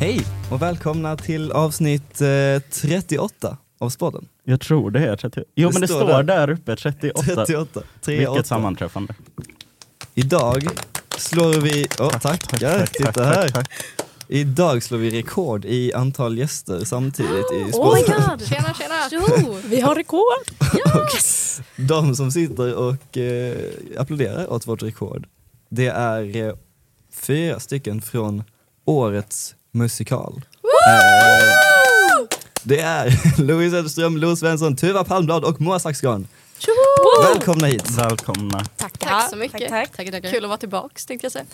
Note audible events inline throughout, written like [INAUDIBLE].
Hej och välkomna till avsnitt eh, 38 av Spodden. Jag tror det är 30. Jo Det men det står står, där uppe 38. 38. 38. Vilket sammanträffande. Idag slår vi, oh, tack, ja, titta här. tack, tack. Idag slår vi rekord i antal gäster samtidigt i Oh my Spodden. [LAUGHS] god! Tjena tjena! Jo, vi har rekord! De som sitter och eh, applåderar åt vårt rekord, det är eh, fyra stycken från årets musikal. Eh, det är [LAUGHS] Louise Edström, Lo Svensson, Tuva Palmblad och Moa Saxgran. Välkomna hit! Välkomna. Tack, Tack så mycket. Tack, tack. Tack, tack. Kul att vara tillbaks tänkte jag säga.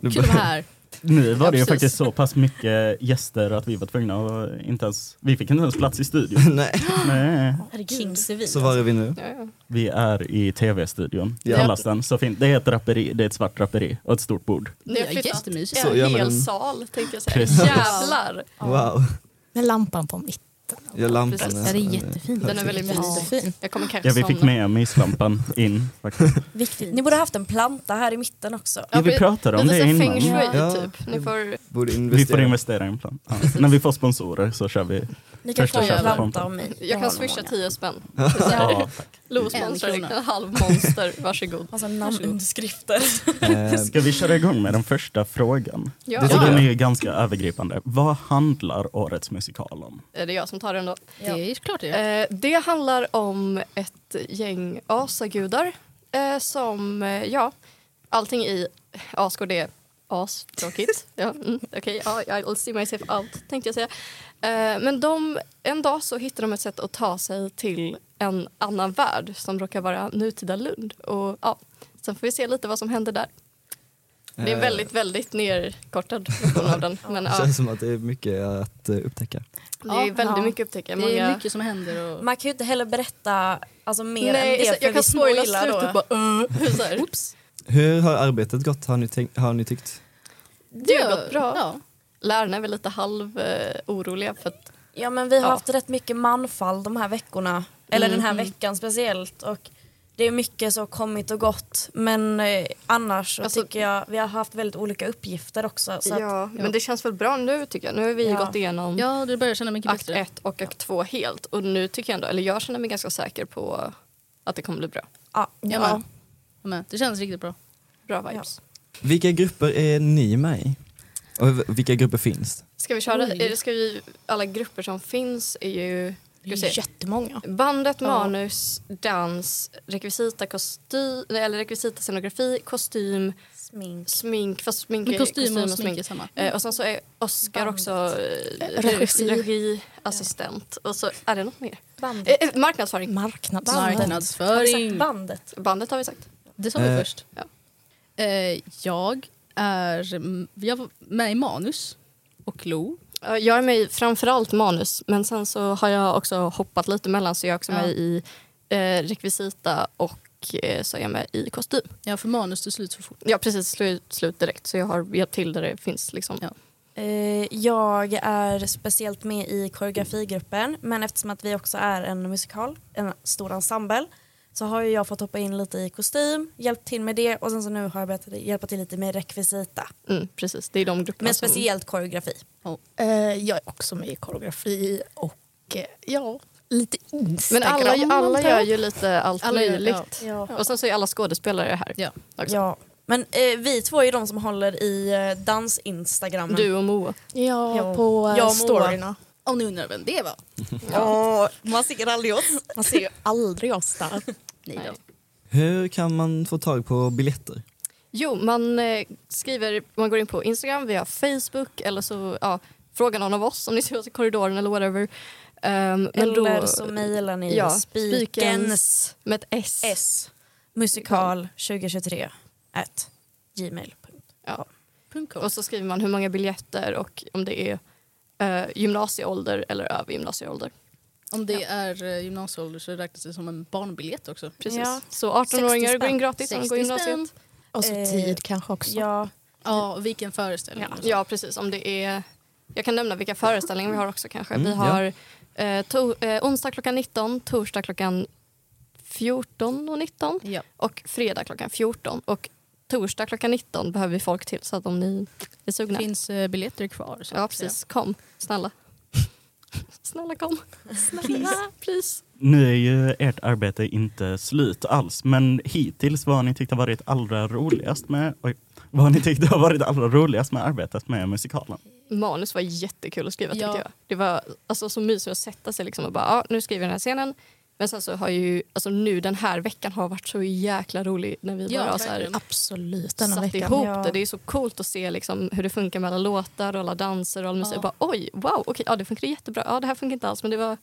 Du [LAUGHS] Kul att vara här. Nu var det ju Ja, precis. faktiskt så pass mycket gäster att vi var tvungna att inte ens, vi fick inte ens plats i [LAUGHS] studion. [LAUGHS] Nej, Nej. Kings vi. så var är vi nu. Ja, ja. Vi är i tv-studion, Ja. kallas den. Så fint. Det är ett draperi, det är ett svart draperi och ett stort bord. Ni Ja, har flyttat en jättemysigt. Så gör man hel en- sal tänkte jag säga. Precis. Jävlar! Wow, eh, Med lampan på mitten. jag lampan Precis. är- Ja, det är jättefint. Den är väldigt mysig. Jättefin. Jag kommer kanske Ja, vi fick somna. med myslampan in faktiskt. Viktigt. Ni borde haft en planta här i mitten också. Ja, vi pratade om det Lite så innan. feng shui Ja. typ. Ni får... borde Vi får investera. investera i en plan. Ja. När vi får sponsorer så kör vi. Ni kan Första få en köpet. planta av mig. Jag kan har swisha många. 10 spänn. Ja, tack. Los En monster, krona. en halv monster. Varsågod. Alltså, Massa namnunderskrifter. Eh, Ska vi köra igång med den första frågan? Ja. Det Och tycker den jag. är ju ganska övergripande. Vad handlar årets musikal om? Är det jag som tar den då? Det är klart det Eh, det handlar om ett gäng asagudar eh, som, eh, ja, allting i Asgård är [LAUGHS] astråkigt. ja, mm, Okej, ja, I'll see myself out tänkte jag säga. Eh, men de, en dag så hittar de ett sätt att ta sig till en annan värld som råkar vara nutida Lund. Och, ja, sen får vi se lite vad som händer där. Det är en Eh. väldigt, väldigt nerkortad version av [LAUGHS] den. Men, det ja, känns som att det är mycket att eh, upptäcka. det är väldigt Ja. mycket att upptäcka. Det är Många, mycket som händer. Och... Man kan ju inte heller berätta alltså, mer Nej, än det så- för jag vi kan spoila spoilar då. slutet bara. Uh, så här. Oops. Hur har arbetet gått har ni, tänkt, har ni tyckt? Det har gått bra. Ja. Lärarna är väl lite halv eh, oroliga för att Ja men vi har Ja. Mm, haft rätt mycket manfall de här veckorna. Eller den här veckan speciellt. Och det är mycket så kommit och gått. Men eh, annars så Alltså- tycker jag vi har haft väldigt olika uppgifter också. Så att, ja, men det känns väl bra nu tycker jag. Nu har vi Ja. gått igenom ja, du börjar känna mycket akt bättre. 1 och akt 2 helt och nu tycker jag ändå, eller jag känner mig ganska säker på att det kommer bli bra. ja, Jag ja. med. Jag med. Det känns riktigt bra. Bra vibes. Vilka grupper är ni med i? Och v- vilka grupper finns? Ska vi köra, Oj. är det, ska vi, alla grupper som finns är ju ska vi se. jättemånga. Bandet, Ja. manus, dans, rekvisita, kostym, eller rekvisita, scenografi, kostym, Smink. smink, fast smink är Men kostym och smink är samma. Eh, och sen så är Oscar Bandet. också eh, Regi. regiassistent. Och så är det något mer? Bandet. Eh, eh, marknadsföring. Marknads- Har vi sagt Marknadsföring. Bandet. Bandet har vi sagt. Det sa vi Eh. först. Ja. Eh, jag är mm, jag var med i manus och Lo. Eh, Jag är med i framförallt manus men sen så har jag också hoppat lite mellan så jag är också Ja. med i eh, rekvisita och eh, så är jag med i kostym. Ja, för manus tog slut för fort. Jag har precis slut, slut direkt så jag har hjälpt till där det finns liksom. Ja. Eh, Jag är speciellt med i koreografigruppen men eftersom att vi också är en musikal, en stor ensemble så har ju jag fått hoppa in lite i kostym, hjälpt till med det och sen så nu har jag börjat hjälpa till lite med rekvisita. Mm, precis, det är de grupperna Men speciellt koreografi. jag är också med i koreografi och ja, lite som... Men alla, alla gör ju lite allt Alla gör- möjligt. Ja. Och sen så är alla skådespelare här. Ja. också. ja. Men eh, vi två är ju de som håller i eh, dans-instagrammen. Du och Moa. Ja, Ja. på eh, Jag ja, och storyna. Om ni undrar vem det var? Åh, man ser aldrig oss. Man ser ju aldrig oss där. Nej. Nej. då. Hur kan man få tag på biljetter? Jo, man eh, skriver, man går in på Instagram, vi har Facebook eller så ja, fråga någon av oss om ni ser oss i korridoren eller whatever. Ehm, men då- Eller så mejlar ni Ja, spikens Spikens med ett S. s musikal 2023 at gmail.com Ja. Punkt com. Och så skriver man hur många biljetter och om det är eh, gymnasieålder eller över gymnasieålder. Om det är eh, gymnasieålder så räknas det som en barnbiljett också. Precis. Ja. Så 18-åringar 60 går in spänn. gratis om de går i 60 spänn. gymnasiet. Och så Eh, tid kanske också. Ja, Ja, och vilken föreställning. och så. Ja, precis. Om det är... Jag kan nämna vilka föreställningar vi har också kanske. Mm, vi har eh, to- eh, onsdag klockan 19, torsdag klockan 14 och 19 Ja. och fredag klockan 14. Och torsdag klockan 19 behöver vi folk till så att om ni är Det sugna. finns eh, biljetter kvar. Så Ja att säga. precis, kom. Snälla. [LAUGHS] Snälla kom. Snälla, please. Nu är ju ert arbete inte slut alls, men hittills vad har ni tyckt har varit allra roligast med, oj, vad har ni tyckt har varit allra roligast med arbetet med musikalen? Manus var jättekul att skriva Ja. tyckte jag. Det var alltså, så mysigt att sätta sig liksom och bara, ja, nu skriver jag den här scenen. Men sen så har ju, alltså nu den här veckan har varit så jäkla rolig när vi Ja, bara så här, verkligen. Absolut, denna satt veckan. ihop Ja. det. Det är så coolt att se liksom, hur det funkar med alla låtar och alla danser och all musik. Ja. Och bara, oj, wow, okej, ja, det funkar jättebra. Ja, det här funkar inte alls men det var,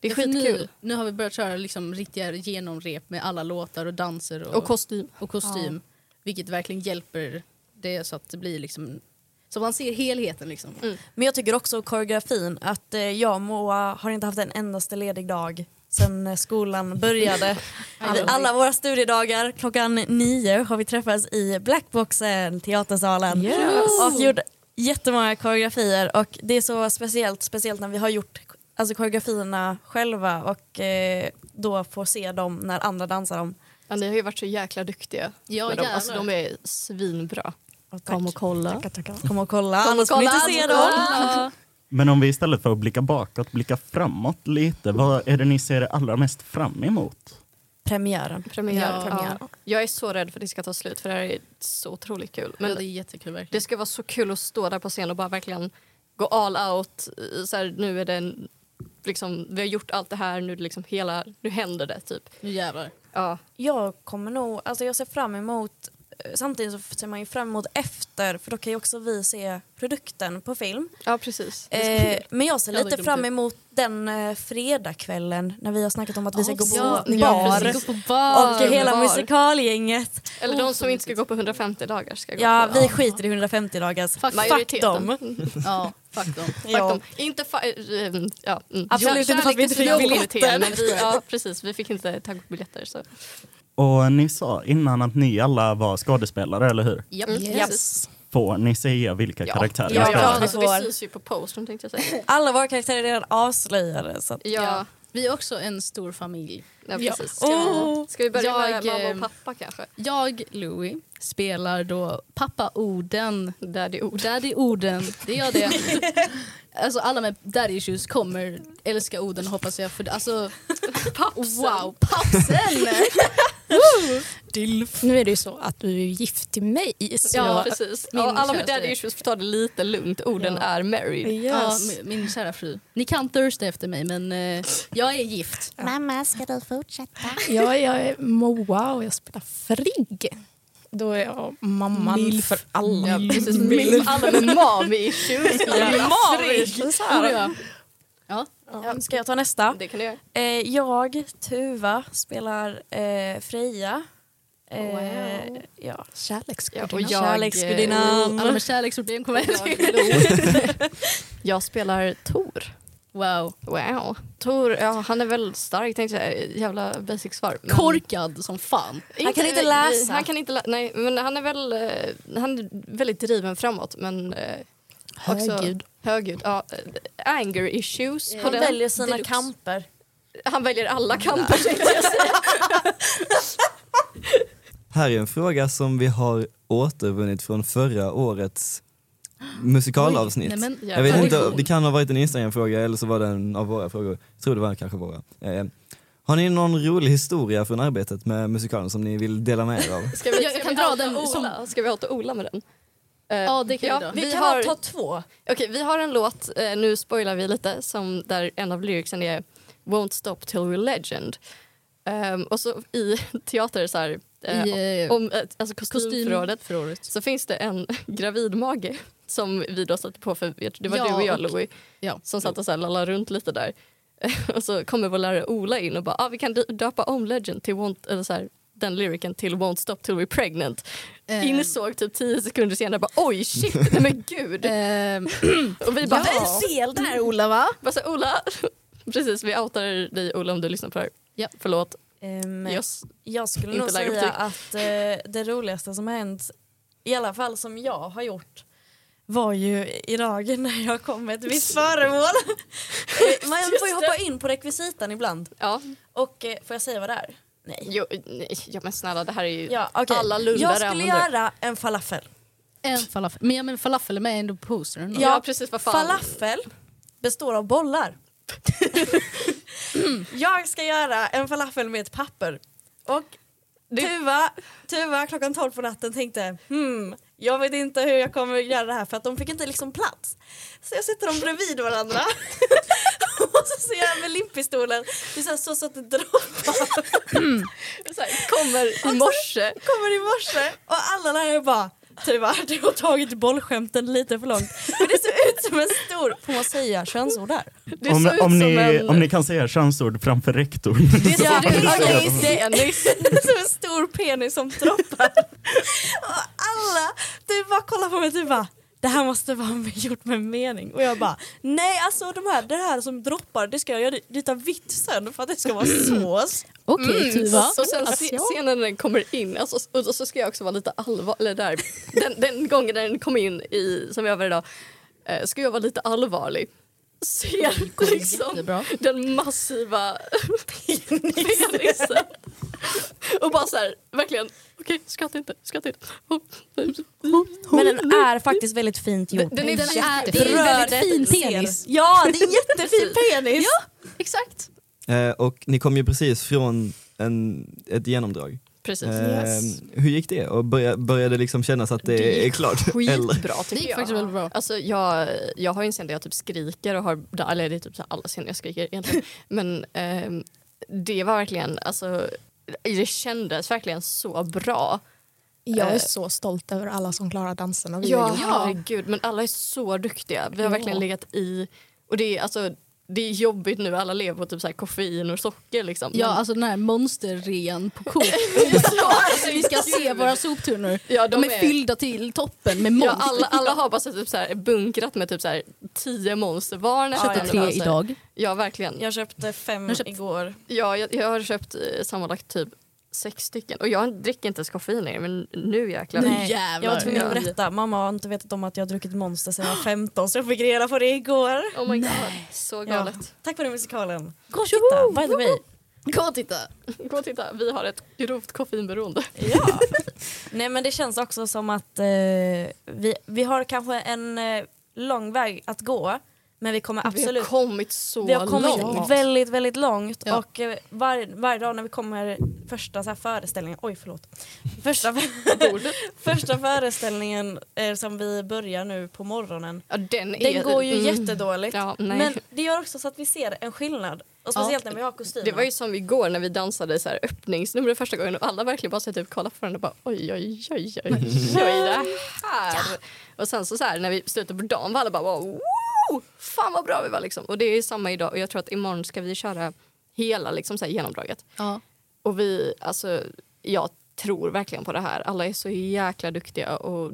det är Ja, för skitkul. Nu, nu har vi börjat köra liksom riktiga genomrep med alla låtar och danser och, Och kostym. och kostym. Vilket verkligen hjälper det så att det blir liksom... Så man ser helheten liksom. Men jag tycker också koreografin, att eh, jag och Moa har inte haft en endaste ledig dag sen eh, skolan [LAUGHS] började. Vi, alla våra studiedagar, klockan nio har vi träffats i Blackboxen, teatersalen. Och gjort jättemånga koreografier och det är så speciellt, speciellt när vi har gjort alltså, koreografierna själva och eh, då får se dem när andra dansar dem. Ja, ni har ju varit så jäkla duktiga. Ja, med dem. Alltså, de jävlar. är svinbra. Och tack. Kom och kolla. Tackar, tackar. Kom och kolla, Kom och annars får ni kolla, inte se annars- dem. Ja. Men om vi istället för att blicka bakåt, blicka framåt lite, vad är det ni ser allra mest fram emot? Premiären. Premiär. Ja. Ja. Jag är så rädd för att det ska ta slut för det här är så otroligt kul. Men ja, det är jättekul verkligen. det ska vara så kul att stå där på scen och bara verkligen gå all out. eh, Så här, nu är det en, liksom, vi har gjort allt det här, nu, är det liksom hela, nu händer det typ. Nu jävlar. Ja, Jag kommer nog, alltså jag ser fram emot eh, Samtidigt så ser man ju fram emot efter för då kan ju också vi se produkten på film. ja precis. Eh, men jag ser Jag hade lite glömt fram det. emot den eh, fredagskvällen när vi har snackat om att vi ska gå på ja, bar. ja, precis. Gå på bar. och hela bar. musikalgänget. [LAUGHS] Eller de som inte ska gå på 150 dagar ska gå oh, Ja, på. vi skiter i 150 dagars. Fuck, Majoriteten. [LAUGHS] dem. Ja, fuck dem. Ja. Ja. Inte fa- eh, eh, ja, mm. Absolut inte för att vi inte fick Kärlek biljetter. till Syokommittén, Men vi, [LAUGHS] ja, precis. Vi fick inte tag på biljetter. Så. Och ni sa innan att ni alla var skådespelare, eller hur? Japp. Mm. Yes. Får ni säga vilka karaktärer ni ja, ja, spelar? alltså, Får. vi syns ju på posten tänkte jag säga. Alla våra karaktärer är redan avslöjade. Så att, Ja, Vi är också en stor familj. ja precis. eh, Ska, Åh. vi, ska vi börja Jag, med mamma ehm, och pappa kanske? Jag, Louis, spelar då pappa Oden. Daddy Oden. Daddy Oden. Det gör det. [LAUGHS] alltså alla med daddy issues kommer älska Oden hoppas jag. För, alltså, wow, [LAUGHS] pappsen! Nu är det ju så att du är gift till mig. Så Ja, jag- precis. min Ja, alla med kärlek. daddy issues får ta det lite lugnt. Orden Ja. är married. Ja, min, min kära fru. Ni kan thirsta efter mig men eh, jag är gift. Mamma, ska du fortsätta? Jag, är- jag är Moa och jag spelar Frigg. Då är jag mamman för alla. Ja, precis. Milf. Alla med mommy issues. Mavis! Tror jag. ja, ska jag ta nästa? Det kan du göra. Eh, jag, Tuva, spelar eh, Freja. Eh, Wow. ja. Ja, Kärleksgudinna. och jag, eh, Kärleksgudinnan. eh, Alla med [LAUGHS] kärleksproblem kommer Jag, älska Lo. jag spelar Tor. Wow. Wow. Tor, ja, han är väl stark tänkte jag säga. Jävla basic svar. Mm. men- Korkad som fan. Han kan inte läsa. Han kan inte lä- nej, men han är väl eh, han är väldigt driven framåt. Men eh, också Högljudd. högljudd, ja, eh, anger issues. på Han den. väljer sina Deluxe. kamper. han väljer alla kamper. tänkte jag säga. Här är en fråga som vi har återvunnit från förra årets musikalavsnitt. Oj, nej men, jag vet inte, tradition. det kan ha varit en Instagram-fråga eller så var det en av våra frågor. Jag tror det var kanske våra. Eh, har ni någon rolig historia från arbetet med musikalen som ni vill dela med er [LAUGHS] av? Ska vi, Jag- jag ska kan vi dra outa den Ola? Ska vi outa Ola med den? Eh, Ja, det kan vi dra. vi, Vi, kan har, väl ta två. okej, vi har en låt, eh, nu spoilar vi lite, som där en av lyricsen är Won't stop till we're legend. Ehm, och så i [LAUGHS] teater, så här, eh, I eh, om, eh, alltså kostymförrådet, kostymförrådet. så finns det en [LAUGHS] gravid mage som vi då satte på för vet- det var Ja, du och jag och- Louie [LAUGHS] Ja. som satt och så här lallade runt lite där. [LAUGHS] och så kommer vår lärare Ola in och bara ah, vi kan dö- döpa om Legend till won't, eller så här, den lyriken till Won't stop till we're pregnant. Eh. Insåg typ tio sekunder senare bara oj shit, nej [LAUGHS] men gud. eh, Ehm, och vi bara, ja. Fel där Mm. Ola va? bara så här, Ola, [LAUGHS] precis vi outar dig Ola om du lyssnar på det här. Ja. Förlåt. Ehm, Yes. Jag skulle Inte nog lägre säga att eh, det roligaste som har hänt, i alla fall som jag har gjort, var ju idag när jag kom med ett visst [LAUGHS] föremål. Eh, Man får ju hoppa in på rekvisitan ibland. Ja. Och eh, får jag säga vad det är? Nej. Jo, nej, ja men snälla det här är ju... Ja, okej. Alla lundare Jag skulle använder det. göra en falafel. En falafel. Men, ja, men falafel är med ändå på postern. Ja, då. precis, vad fan. Falafel består av bollar. [LAUGHS] jag ska göra en falafel med ett papper. Och Tuva, Tuva klockan 12 på natten tänkte hmm, jag vet inte hur jag kommer göra det här för att de fick inte liksom plats. Så jag sätter dem bredvid varandra [LAUGHS] och så ser jag med limppistolen det är så, här, så, så att det [LAUGHS] droppar. Så här, kommer i Alltså, morse. kommer i morse och alla lärare bara Tuva, du har tagit bollskämten lite för långt. Men det ser ut som en stor, får man säga könsord där? Det Om, såg ut om, som ni, en... om ni kan säga könsord framför [LAUGHS] rektorn. Det Ja, ser ut som okej, en det- penis. Det är [LAUGHS] som en stor penis som droppar. Och alla, du bara kollar på mig och du bara det här måste vara gjort med mening. Och jag bara, nej alltså de här, det här som droppar det ska jag göra lite vitt sen för att det ska vara sås. Okej Tuva. Och Mm, sen se- scenen när den kommer in, alltså, och och så ska jag också vara lite allvarlig, eller där, den, den gången när den kom in i, som jag var idag, eh, ska jag vara lite allvarlig. Ser liksom jättebra. den massiva penisen. och bara så här, verkligen, okej skratta inte, skratta inte. Men den är faktiskt väldigt fint gjord. Den är, den är, Det är en väldigt fin Röret ser- penis. Ja, det är en [LAUGHS] jättefin penis. [LAUGHS] exakt. Eh, och ni kom ju precis från en, ett genomdrag. Typ, Precis. Yes. Eh, hur gick det? Och börja, började det liksom kännas att det, Det är klart? Eller? Skitbra Det tycker gick jag. faktiskt väldigt bra. Alltså jag, jag har ju en scen där jag typ skriker och har, eller det är typ så här alla scener jag skriker [LAUGHS] egentligen. Men ehm, det var verkligen, alltså det kändes verkligen så bra. Jag Eh. är så stolt över alla som klarar dansen. Och vi har Ja, gjort. herregud. Men alla är så duktiga. Vi har verkligen legat i, och det är alltså det är jobbigt nu, alla lever på typ så här koffein och socker liksom. Ja, Men- alltså den här monsterrean på [LAUGHS] Coop. alltså, vi ska se våra soptunnor. Ja, de de är, är- fyllda till toppen med ja, monster. alla, alla har bara så typ så här, bunkrat med typ så här, tio monster var. när- Köpte Ja, Tre alltså. idag. Ja, verkligen. Jag köpte fem Jag köpte- igår. Ja, jag, jag har köpt eh, sammanlagt typ sex stycken. Och jag dricker inte ens koffein längre, men nu jäklar. Nej. jävlar. jag var tvungen att Ja. berätta. Mamma har inte vetat om att jag har druckit Monster sedan jag var 15 så jag fick reda på det igår. Oh my god, så galet. Tack vare musikalen. Gå och titta, by the way. Gå och titta. Gå och titta, vi har ett grovt koffeinberoende. Ja. Nej men det känns också som att eh, vi, vi har kanske en eh, lång väg att gå men vi kommer Vi har absolut kommit så Vi har kommit långt. väldigt, väldigt långt Ja. och eh, var, varje dag när vi kommer första så här föreställningen, oj förlåt, första, [LAUGHS] första föreställningen eh, som vi börjar nu på morgonen Ja, den, är, Mm. Den går ju jättedåligt. Ja, nej. men det gör också så att vi ser en skillnad. Och speciellt när vi har kostymer. Det var ju som igår när vi dansade så här öppningsnumret första gången och alla verkligen bara så här typ kollade på varandra och bara oj oj oj oj oj det här. Och sen så, så här när vi slutade på dagen var alla bara wow, fan vad bra vi var liksom. Och det är ju samma idag och jag tror att imorgon ska vi köra hela liksom så här genomdraget. Ja. Och vi, alltså jag tror verkligen på det här. Alla är så jäkla duktiga och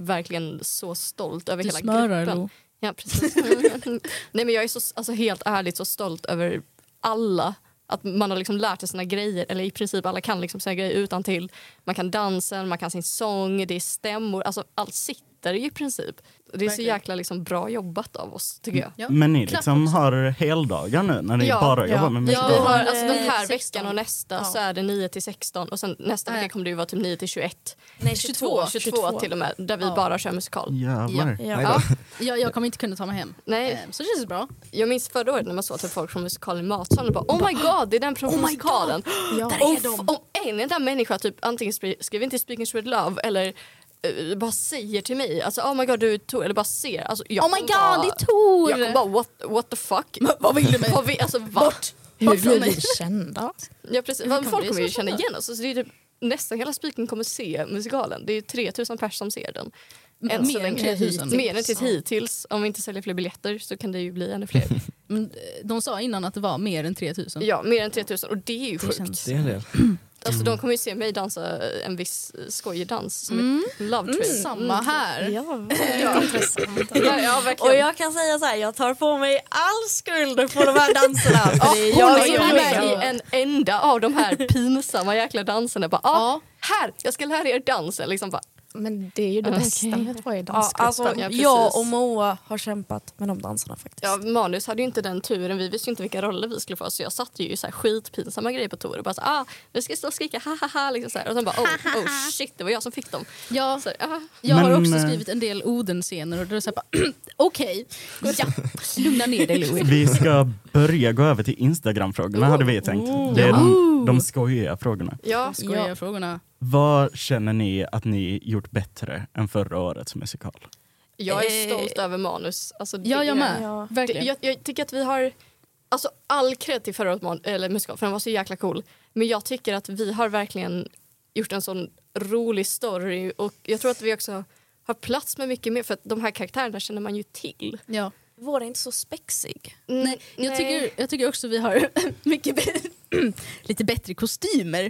verkligen så stolt över Du hela smörar, gruppen. Lo. Ja, precis. [LAUGHS] Mm. Nej, men jag är så, alltså, helt ärligt så stolt över alla. Att man har liksom lärt sig sina grejer, eller i princip alla kan liksom sina grejer utan till. Man kan dansen, man kan sin sång, det är stämmor, alltså allt sitter ju i princip. Det är så Verkligen. jäkla liksom, bra jobbat av oss tycker jag. Ja. Men ni Klart liksom har heldagar nu när ni Ja, bara ja. jobbar med musik. Ja, vi har, men, alltså, eh, den här 16. veckan och nästa så är det 9 till 16 och sen nästa Ja, ja. vecka kommer det ju vara typ 9 till 21. Nej, 22, 22. 22, till och med, där vi Ja. bara kör musikal. Jävlar. Ja. då. Jag, jag kommer inte kunna ta mig hem. Nej, Eh, Så det känns bra. Jag minns förra året när man såg typ folk från musikalen i matsalen och bara oh my god det är den från musikalen. [GASPS] Ja. Om, f- om en enda människa typ antingen spri- skriver inte Speaking Street Love eller eh, bara säger till mig alltså oh my god du är Tor eller bara ser. Alltså, jag Oh my kommer god, bara, det är Tor! Jag kommer bara what, what [LAUGHS] the fuck. vad vill du med- Vad vi, alltså, va? Bort! Hur blir vi kända? Ja, precis. Hur kan folk det kommer ju så känna snabbt? igen oss. Alltså, det är typ, nästan hela Speaking kommer se musikalen. Det är ju 3000 pers som ser den. M- Än så mer än länge. 3000. Mer än tills hittills. Om vi inte säljer fler biljetter så kan det ju bli ännu fler. Men, eh, De sa innan att det var mer än 3000. ja, mer än 3000 och det är ju sjukt. Det är en del. Alltså, de kommer ju se mig dansa en viss eh, skojig dans som ett love train. Mm. Samma här. Ja. Ja, ja, verkligen. Och jag kan säga så här, jag tar på mig all skuld på de här danserna. För det är jag jag är som ju är med med. i en [LAUGHS] enda av de här pinsamma jäkla danserna. Bara, ah, Här, jag ska lära er dansen. Liksom bara, Men det är ju det Okej. bästa med att vara i Ja, dansgruppen. alltså, ja, precis. jag och Moa har kämpat med de dansarna faktiskt. Ja, Manus hade ju inte den turen. Vi visste ju inte vilka roller vi skulle få. Så jag satt ju i så här skitpinsamma grejer på Tor och bara så, ah, vi ska stå och skrika ha ha ha. Liksom så här. Och sen bara oh, [LAUGHS] oh shit, det var jag som fick dem. Ja, Så, här, ah. jag har Men, också eh, skrivit en del Oden-scener och då är det så här bara, [CLEARS THROAT] okej, ja, lugna ner [LAUGHS] dig Louie. Vi ska börja gå över till Instagram-frågorna hade vi tänkt. Oh, Det är de, de skojiga frågorna. Ja, Skojar frågorna. Vad känner ni att ni gjort bättre än förra årets musikal? jag är stolt över Manus. Alltså, det Eh, Ja, jag är- med. Ja. Det, Verkligen. jag, jag tycker att vi har alltså, all cred till förra årets man- eller musikal, för den var så jäkla cool. Men jag tycker att vi har verkligen gjort en sån rolig story och jag tror att vi också har plats med mycket mer för att de här karaktärerna känner man ju till. ja. Vår är inte så spexig. Mm, Nej, jag, tycker, jag tycker också vi har [LAUGHS] mycket bä- [CLEARS THROAT] lite bättre kostymer.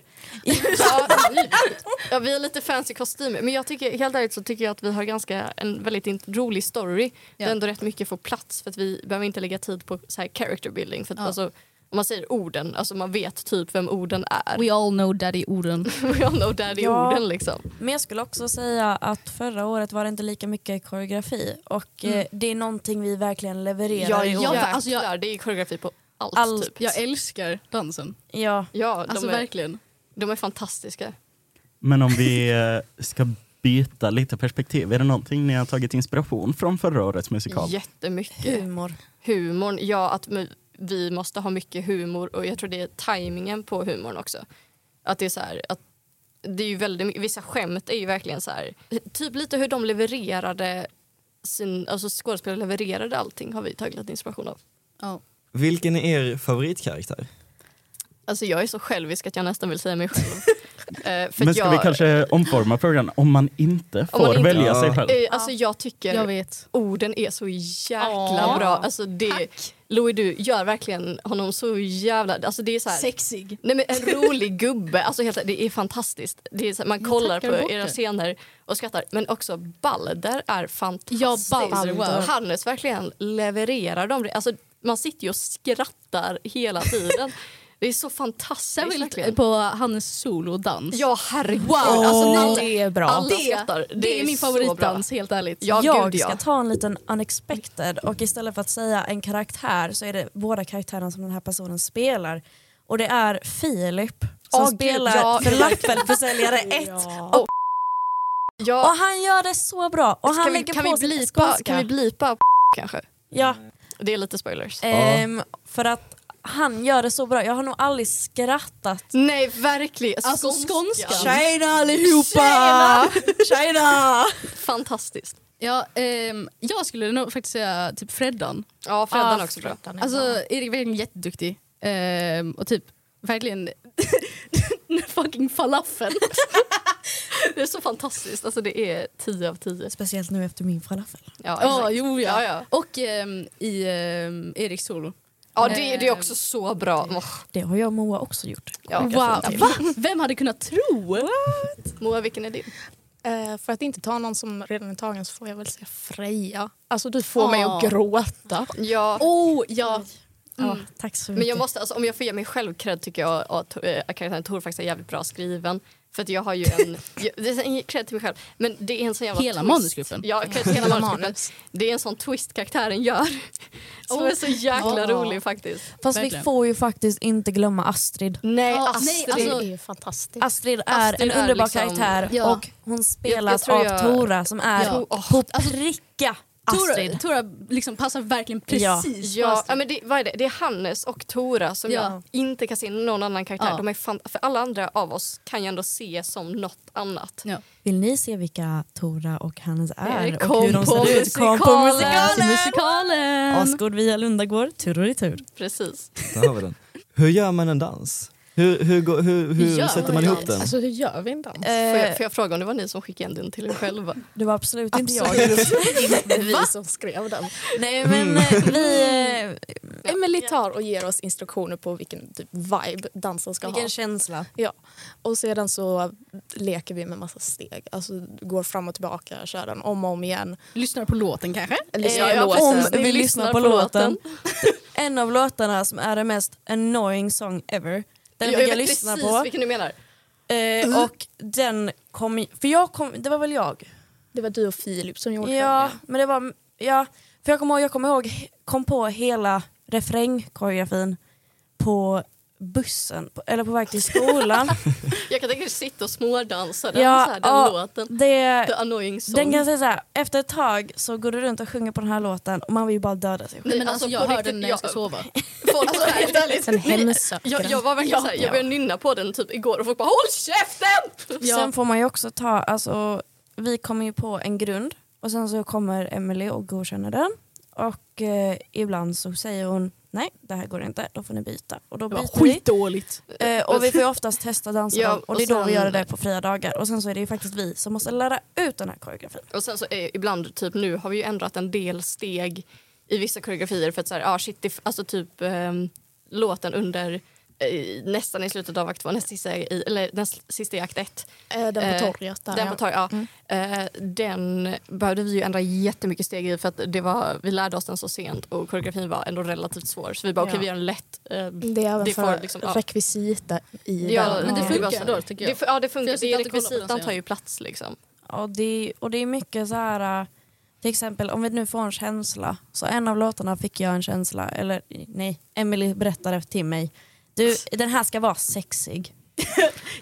Mm. [LAUGHS] Ja, ja, vi är lite fancy kostymer men jag tycker, helt ärligt så tycker jag att vi har ganska en väldigt in- rolig story Ja. där ändå rätt mycket får plats för att vi behöver inte lägga tid på så här character building för att Ja. alltså, om man säger orden, alltså man vet typ vem orden är. We all know daddy [LAUGHS] Oden. [LAUGHS] We all know daddy Ja. orden liksom. Men jag skulle också säga att förra året var det inte lika mycket koreografi och eh, det är någonting vi verkligen levererar Mm. Ja, i år. ja, jag- jäklar, alltså det är koreografi på allt, Allt. typ. Jag älskar dansen. Ja. Ja, de, Alltså är, verkligen. de är fantastiska. Men om [LAUGHS] vi eh, ska byta lite perspektiv, är det någonting ni har tagit inspiration från förra årets musikal? Jättemycket. Humor. Humorn, ja att mu- vi måste ha mycket humor och jag tror det är tajmingen på humorn också. Att det är så här, att det är ju väldigt mycket, vissa skämt är ju verkligen så här, typ lite hur de levererade sin, alltså skådespelare levererade allting har vi tagit lite inspiration av. Ja. Vilken är er favoritkaraktär? Alltså jag är så självisk att jag nästan vill säga mig själv. [LAUGHS] Eh, för Men att ska jag, vi kanske omforma frågan om man inte får Om man inte- välja Ja. sig själv? eh, alltså jag tycker Jag vet. orden är så jäkla Ja. bra. Alltså det, Louis, du gör verkligen honom så jävla... Alltså det är så här, Sexig. Nej men en [LAUGHS] rolig gubbe, alltså helt, det är fantastiskt. Det är så här, man Jag kollar tackar på bort era det. scener och skrattar. Men också Balder är Ja, fantastisk. Balder, wow. Hannes verkligen levererar dem. det. Alltså, man sitter ju och skrattar hela tiden. det är så fantastiskt. verkligen. Särskilt på Hannes solodans. Ja herregud. Wow. Alltså, Åh, alla- det är bra. Alla Det- skrattar. det, är min så bra. favoritdans helt ärligt. Ja, jag gud, ja. ska ta en liten unexpected och istället för att säga en karaktär så är det båda karaktärerna som den här personen spelar. Och det är Filip som Åh, gud, spelar ja. [LAUGHS] falafelförsäljare 1 Ja, och han gör det så bra. Och han kan, vi, lägger kan, på vi sig blipa, skånska. kan vi blipa [LAUGHS] kanske? Ja, Det är lite spoilers. Eh, ehm, för att han gör det så bra. Jag har nog aldrig skrattat Nej, verkligen. Alltså skånska. eh, Tjena allihopa! Tjena! Fantastiskt. Ja, ehm, jag skulle nog faktiskt säga typ Freddan. Ja, Freddan Ah, också bra. Alltså Erik är verkligen jätteduktig. Ehm, och typ verkligen [LAUGHS] fucking falafeln. [LAUGHS] Det är så fantastiskt. Alltså, det är 10 av 10. Speciellt nu efter min falafel. Ja, Ja, exakt. jo ja. ja, ja. Och ehm, i ehm, Eriks solo. ja det, Eh, det är också så bra. Åh, Det har jag och Moa också gjort. Ja, wow. grattis. Va? Vem hade kunnat tro? Moa, vilken är din? Eh, för att inte ta någon som redan är tagen så får jag väl säga Freja. Alltså du får Ja. mig att gråta. Mm. Ja, Oh, ja. Ja, tack så mycket. men jag måste, alltså, om jag får ge mig själv cred tycker jag att eh, att karaktären Tor faktiskt är jävligt bra skriven. För att jag har ju [LAUGHS] en... jag, det är en cred till mig själv. Men det är en sån jävla Hela twist. manusgruppen. Ja, cred till hela Hela manusgruppen. manus. Det är en sån twist karaktären gör. [LAUGHS] Som är så jäkla Ja. rolig faktiskt. Fast Verkligen. vi får ju faktiskt inte glömma Astrid. Nej, Ja, Astrid. nej, alltså- det är ju fantastiskt. Astrid är Astrid en är underbar liksom- karaktär Ja. och hon spelas tror jag- av Tora som är Ja. på alltså- pricka Astrid. Tora, Tora liksom passar verkligen precis på Ja, Astrid. ja, men det, vad är det? det är Hannes och Tora som Ja. jag inte kan se någon annan karaktär. Ja. De är fan, för alla andra av oss kan jag ändå se som något annat. Ja. Vill ni se vilka Tora och Hannes är Erik, och hur kom de på ser ut? Kom på musikalen! musikalen! Musikalen! Alltså, Asgård via Lundagård, tur och retur. Precis. Där har vi den. Hur gör man en dans? Hur, hur, går- hur, hur Gör sätter man man en ihop den? Alltså hur gör vi en dans? Får, Eh, jag, får jag fråga om det var ni som skickade in den till er [LAUGHS] själva? det var absolut, inte jag. Absolut [LAUGHS] inte vi som skrev den. Mm. Nej men eh, vi, eh, Emelie tar och ger oss instruktioner på vilken typ vibe dansen ska ha. vilken känsla. Ja. Och sedan så leker vi med massa steg. Alltså går fram och tillbaka, kör den om och om igen. Lyssnar på låten kanske? Eh, Ja, ja, Eh, om precis. vi Ni lyssnar på låten. [LAUGHS] en av låtarna som är den mest annoying song ever. Den jag fick jag vet lyssna precis på. vilken du menar. Eh, och den kom, för jag kom, det var väl jag? Det var du och Filip som gjorde Ja, men det var, ja, för jag kommer ihåg, jag kommer ihåg, kom på hela refrängkoreografin på bussen, på, eller på väg till skolan. Jag kan tänka mig sitta och smådansa den, Ja, så här, den ja. låten. Det, The annoying song. den kan säga så här, efter ett tag så går du runt och sjunger på den här låten och man vill ju bara döda sig själv. Nej, men alltså, på jag hör riktigt, den när jag ska jag- sova. Folk, [LAUGHS] alltså, [LAUGHS] helt ärligt, Sen ni- [LAUGHS] hemsöker jag, den. jag var verkligen såhär, jag började nynna på den typ igår och folk bara HÅLL KÄFTEN! Sen får man ju också ta, alltså, vi kommer ju på en grund och sen så kommer Emily och godkänner den. Och eh, ibland så säger hon nej det här går inte, då får ni byta. Och då Det var byter vi. skitdåligt. Eh, och vi får ju oftast testa dansa Ja, dem, och det är och då vi sen- gör det på fria dagar. Och sen så är det ju faktiskt vi som måste lära ut den här koreografin. Och sen så är, ibland, typ nu har vi ju ändrat en del steg i vissa koreografier för att såhär, ah, shit, det, f- alltså typ ehm, låten under eh, nästan i slutet av akt två, näst sista i, eller näst sista i akt ett. Eh, Den på Eh, torget där. den ja. Mm. på torg, ja. Eh, den behövde vi ju ändra jättemycket steg i för att det var, vi lärde oss den så sent och koreografin var ändå relativt svår. Så vi bara, Ja. okej vi gör den lätt. Eh, Det är även Det för får liksom, ja. rekvisita i Ja, den. Men det Ja. funkar Det var så- då tycker det, jag. fu- ja, det funkar. Jag sitter Det är alltid och kollar på den rekvisitan tar scenen. ju plats liksom. Och det, och det är mycket så här... eh, Till exempel om vi nu får en känsla. Så en av låtarna fick jag en känsla, eller nej, Emily berättade till mig. Du, den här ska vara sexig.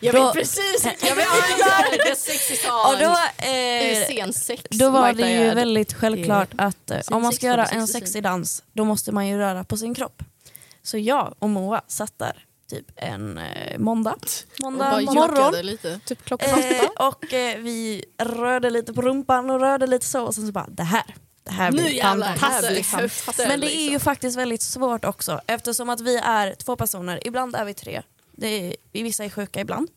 Jag Då- vet precis! Jag [LAUGHS] vet precis! Det är sexigt Och då, Det eh, är scensex. då var might det I ju add. väldigt självklart att eh, om man sex ska får göra du en sexig sexig dans då måste man ju röra på sin kropp. Så jag och Moa satt där typ en eh, måndag, måndag Bara morgon. jockade lite. Typ klockan Eh, och eh, vi rörde lite på rumpan och rörde lite så och sen så bara det här, det här Nu blir jävlar, Det här blir fantastiskt. höften, Men det är liksom. ju faktiskt väldigt svårt också eftersom att vi är två personer, ibland är vi tre. Det är, vi- vissa är sjuka ibland.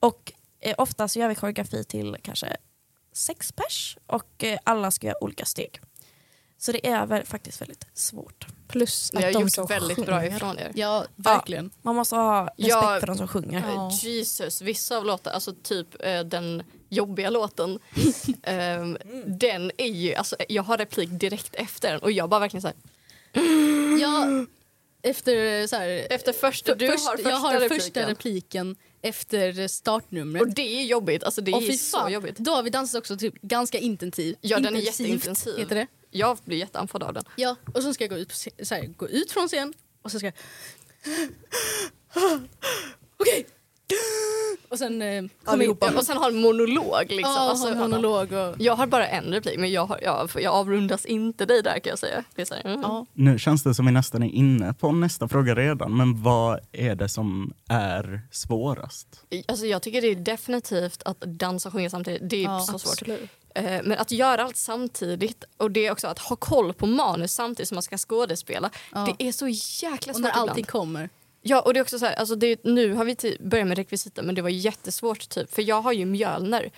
Och eh, ofta så gör vi koreografi till kanske sex pers och eh, alla ska göra olika steg. Så det är väl faktiskt väldigt svårt. Plus Ni har att de gjort som väldigt sjunger. bra ifrån er. Ja, verkligen. Man måste ha respekt Ja. för de som sjunger. Eh, Jesus, vissa av låtarna, alltså typ eh, den jobbiga låten, ehm, den är ju, alltså jag har replik direkt efter den och jag bara verkligen såhär, Jag, efter så här, efter första, du först- har första jag har repliken. första repliken efter startnumret. och det är jobbigt, alltså det Åh, är fy så fan. jobbigt. Då har vi dansat också typ ganska intensiv. Ja, den är Intensivt, jätteintensiv. Heter det. Jag blir jätteanfådd av den. Ja, och sen ska jag gå ut, på scen- så här, gå ut från scen och så ska [LAUGHS] jag... Okej! Och sen eh, komma ihop. Ja, och sen har en monolog liksom. Ja, Alltså, ha monolog och... Jag har bara en replik men jag, har, jag, jag avrundas inte dig där kan jag säga. Det är så här, mm. Ja. Nu känns det som vi nästan är inne på nästa fråga redan, men vad är det som är svårast? Alltså jag tycker det är definitivt att dansa och sjunga samtidigt, det är Ja, så svårt. Absolut. Eh, Men att göra allt samtidigt och det är också att ha koll på manus samtidigt som man ska skådespela. Ja. Det är så jäkla Och svårt när ibland. allting kommer. Ja, och det är också så här, alltså det, är- nu har vi ty- börjat med rekvisita men det var jättesvårt typ, för jag har ju mjölner.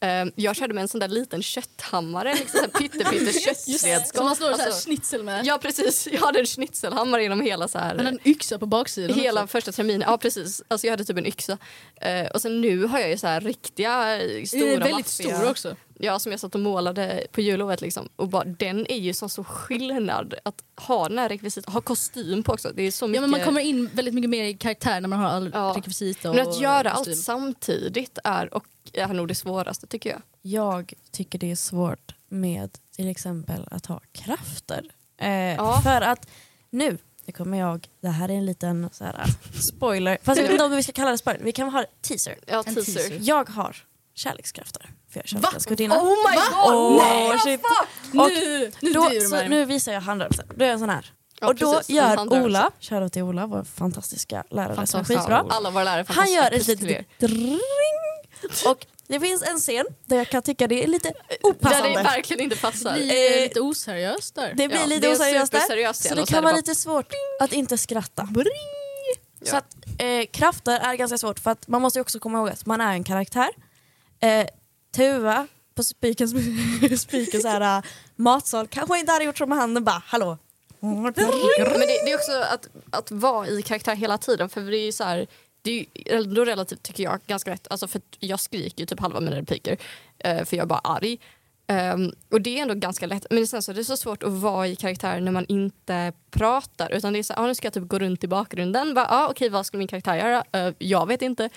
Eh, Jag körde med en sån där liten kötthammare, liksom så här [LAUGHS] pytte-pytte Som köttredskap. man slår så här Alltså, schnitzel med. Ja precis, jag hade en schnitzelhammare genom hela så Han har här en yxa på baksidan Hela också. första terminen, ja precis. Alltså jag hade typ en yxa. Eh, och sen nu har jag ju så här riktiga eh, stora Den är väldigt maffiga- stor också. Ja som jag satt och målade på jullovet liksom. Och bara, den är ju sån så skillnad att ha den här rekvisiten, ha kostym på också. Det är så mycket. Ja, men man kommer in väldigt mycket mer i karaktär när man har all Ja. rekvisita och men att göra kostym. allt samtidigt är, och är nog det svåraste tycker jag. Jag tycker det är svårt med till exempel att ha krafter. Eh, Ja. För att nu, nu kommer jag, det här är en liten så här, ah, spoiler, fast jag vet inte om vi ska kalla det spoiler, vi kan ha teaser. Ja, En teaser. teaser. Jag har kärlekskrafter, för jag är kärlekens gudinna. Oh my god! Åh, shit. Och Nu, nu då, driver så, man. nu visar jag handrörelsen, då är jag sån här. Ja, och då precis. En gör handrörelse. Ola, shoutout till Ola, vår fantastiska lärare som är Fantastiskt. skitbra. Alla våra lärare är Han fantastiska. gör ett Puss till er. litet dring och det finns en scen där jag kan tycka det är lite Där det opassande. verkligen inte passar. Det blir eh, lite oseriöst där. Det blir Ja, lite det är en oseriöst där. superseriös Så scen det och så kan är det vara bara- lite svårt att inte skratta. Så Ja. att eh, krafter är ganska svårt för att man måste ju också komma ihåg att man är en karaktär. Eh, Tuva på spikens, [LAUGHS] spikens här, eh, matsal kanske inte hade gjort som med handen bara hallå. Mm. Men det, det är också att, att vara i karaktär hela tiden. För det är ju så här, det är ju ändå relativt, tycker jag, ganska rätt. Alltså för att jag skriker ju typ halva mina repliker eh, för jag är bara arg. Ehm, och det är ändå ganska lätt. Men sen så är det så svårt att vara i karaktär när man inte pratar. Utan det är så här, ah, nu ska jag typ gå runt i bakgrunden. Bara, ah, okej, vad ska min karaktär göra? Eh, jag vet inte.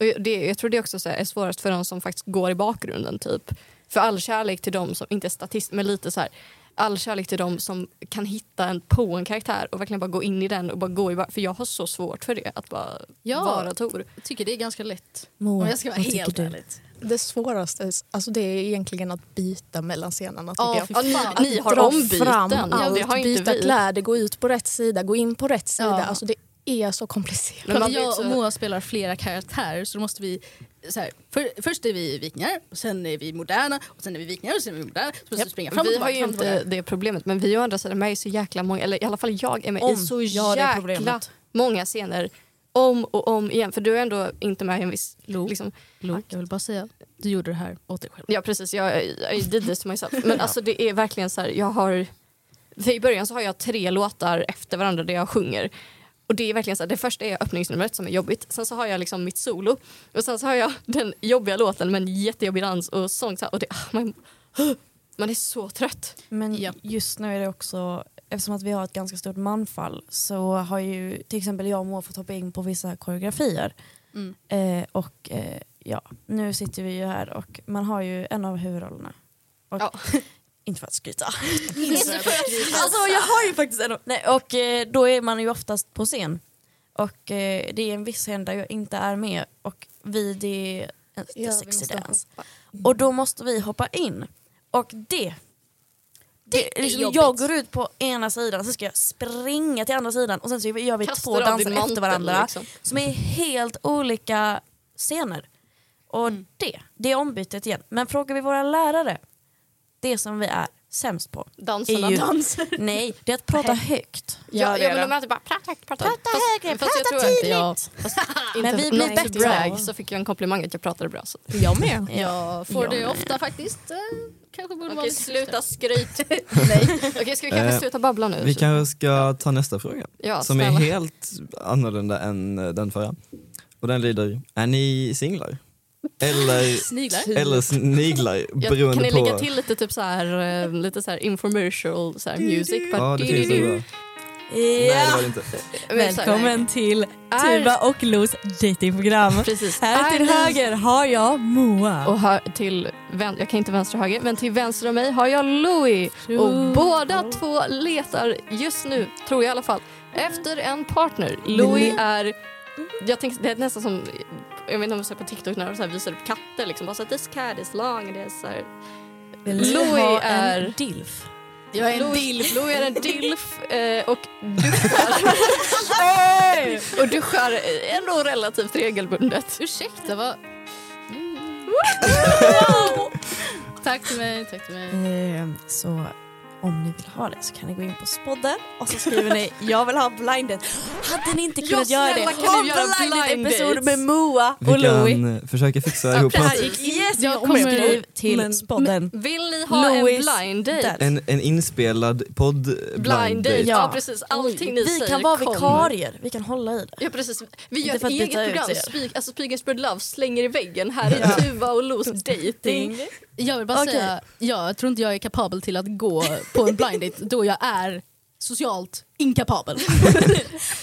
Och jag- det, jag tror det också så här, är svårast för de som faktiskt går i bakgrunden. typ. För all kärlek till de som, inte statist, men lite så här, all kärlek till de som kan hitta en på en karaktär och verkligen bara gå in i den och bara gå i ba- För jag har så svårt för det, att bara Ja. vara Tor. Jag tycker det är ganska lätt. Moa, Om jag ska vara vad tycker helt du? ärlig. Det svåraste alltså det är egentligen att byta mellan scenerna. tycker Ja, jag. fy fan. Att Ni har dra ombyten. fram Ja, det allt, har inte byta vi. kläder, gå ut på rätt sida, gå in på rätt sida. Ja. Alltså det är så komplicerat. Men man blir jag och så- Moa spelar flera karaktärer så då måste vi... Så här, för, först är vi vikingar, och sen är vi moderna, och sen är vi vikingar och sen är vi moderna. Så måste vi springa fram och vi har tillbaka, ju fram och inte tillbaka. det problemet, men vi å andra sidan med i så jäkla många, eller i alla fall jag är med i Om. så Ja, det är jäkla problemet. många scener om och om igen. För du är ändå inte med i en viss... Lo, Liksom, lo, jag vill bara säga, du gjorde det här åt dig själv. ja precis, jag I did this to myself. [LAUGHS] Men alltså det är verkligen så här, jag har... För I början så har jag tre låtar efter varandra där jag sjunger. Och det är verkligen så här, det första är öppningsnumret som är jobbigt, sen så har jag liksom mitt solo och sen så har jag den jobbiga låten med en jättejobbig dans och sång. Så här, och det, ah, man, [GASPS] man är så trött. Men Ja. just nu är det också, eftersom att vi har ett ganska stort manfall så har ju till exempel jag och Moa fått hoppa in på vissa koreografier. Mm. Eh, och eh, ja, nu sitter vi ju här och man har ju en av huvudrollerna. Och, Ja. [LAUGHS] Inte för att skryta. alltså jag har ju faktiskt en av, nej, och eh, då är man ju oftast på scen. Och eh, det är en viss scen där jag inte är med och vi det är en Ja, vi sexy måste dance. Mm. Och då måste vi hoppa in. Och det... det, är liksom, jobbigt. jag går ut på ena sidan, sen ska jag springa till andra sidan och sen så gör vi Kastar två av din danser efter mantel, varandra liksom. som är helt olika scener. Och Mm. det, det är ombytet igen. Men frågar vi våra lärare, det som vi är sämst på, Dansarna. är ju... [LAUGHS] Nej, det är att prata högt. Ja, det ja, är men det. de alltid bara prata, prata, prata högre, prata tydligt. Men vi blir Mitt bättre. brag typ så fick jag en komplimang att jag pratade bra. Så. Jag med. Jag, jag får Ja, det men- ofta faktiskt. Eh, kanske borde vara Okej, lite sluta schysstare. skryt. Nej. [LAUGHS] Okej, ska vi kanske Eh, sluta babbla nu? Vi kanske ska ta nästa fråga Ja, som är snälla. helt annorlunda än eh, den förra. Och den lyder, är ni singlar? Eller, Sniglar. eller sniglar Jag, kan beroende ni lägga på... till lite, typ så här, eh, lite så här infomercial så här, music? Ja, det finns det bra. Nej, det var det inte. Men så här, till Är- och Los datingprogram. Precis. Här Är till ni- höger har jag Moa. Och hö- till vän, jag kan inte vänster och höger, men till vänster om mig har jag Louis. Och båda två letar just nu, tror jag i alla fall, efter en partner. Mm. Louis är, jag tänkte, det är nästan som, jag vet inte om du ser på TikTok när de så här visar upp katter liksom, bara så här, this cat is long, det är så här. Louis ha är- en dilf. Jag är en Louis- dilf. Louis [LAUGHS] är en dilf eh, och duschar. och duschar eh, ändå relativt regelbundet. Mm. Ursäkta, vad... Tack till mig, tack till mig. Ehm, Så om ni vill ha det så kan ni gå in på spodden och så skriver ni jag vill ha blindet. Hade ni inte kunnat göra det? snälla, kan du göra blind episod dates? med Moa och Vi Louis. kan eh, försöka fixa ihop något. Yes, Jag jag kommer- skriv till spodden. Vill ni ha Louis en blind date? där. En, en inspelad podd blind, Blind date. date. Ja. Ja. precis, allting ni Vi säger kan vara kommer. vikarier, vi kan hålla i det. Ja precis, vi Inte gör ett för att eget byta ut program, er. Speak, alltså Speak and Spread Love slänger i väggen. Här är Tuva och Los [LAUGHS] dating. Jag vill bara Okej. säga, jag tror inte jag är kapabel till att gå på en blind date då jag är socialt inkapabel.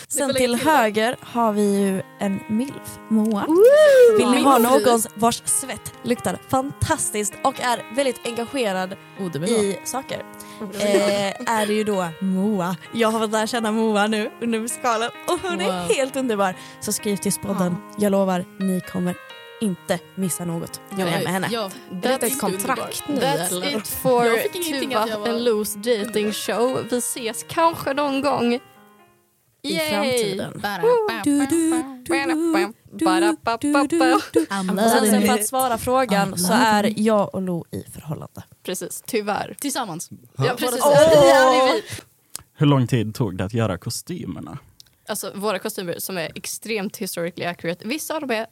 Sen till höger har vi ju en milf, Moa. Vill ni ha Milf. någon vars svett luktar fantastiskt och är väldigt engagerad Oh, det i saker eh, är det ju då Moa. Jag har fått lära känna Moa nu under musikalen och hon Wow. är helt underbar. Så skriv till spodden. Jag lovar, ni kommer inte missa något. Jag är med henne. Jag, That's ett kontrakt nu That's eller? it for Jag fick ingenting Tuva att jag var- and Los dating show. Vi ses kanske någon gång. I framtiden. Du, du. Ba-da-ba-ba-ba. Och sen, sen Sen för bara- att svara frågan så är jag och Lo i förhållande. Precis, tyvärr. Tillsammans. Ja, precis. Hur lång tid tog det att göra kostymerna? Alltså våra kostymer som är extremt historically accurate. Vissa av dem är,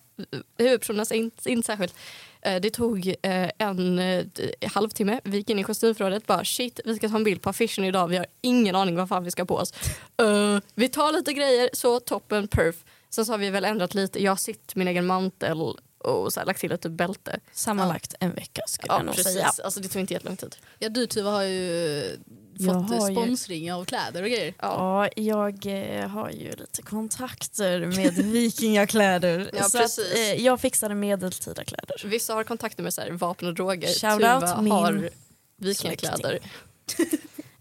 huvudpersonernas är inte, inte särskilt. Eh, Det tog eh, en eh, d- halvtimme, vi gick in i kostymförrådet bara shit vi ska ta en bild på affischen idag, vi har ingen aning vad fan vi ska på [LAUGHS] oss. Eh, vi tar lite grejer, så toppen, perf. Sen så har vi väl ändrat lite, jag har sytt min egen mantel och så här, lagt till ett typ bälte. Sammanlagt en vecka skulle Ja, jag nog säga. precis. Alltså, det tog inte jättelång tid. Ja, du Tuva har ju eh, Jag fått har ju- sponsring av kläder och grejer. Ja, jag eh, har ju lite kontakter med vikingakläder. Ja, så att, precis. eh, jag fixade medeltida kläder. Vissa har kontakter med så här, vapen och droger. Shout Tuva out min har vikingakläder.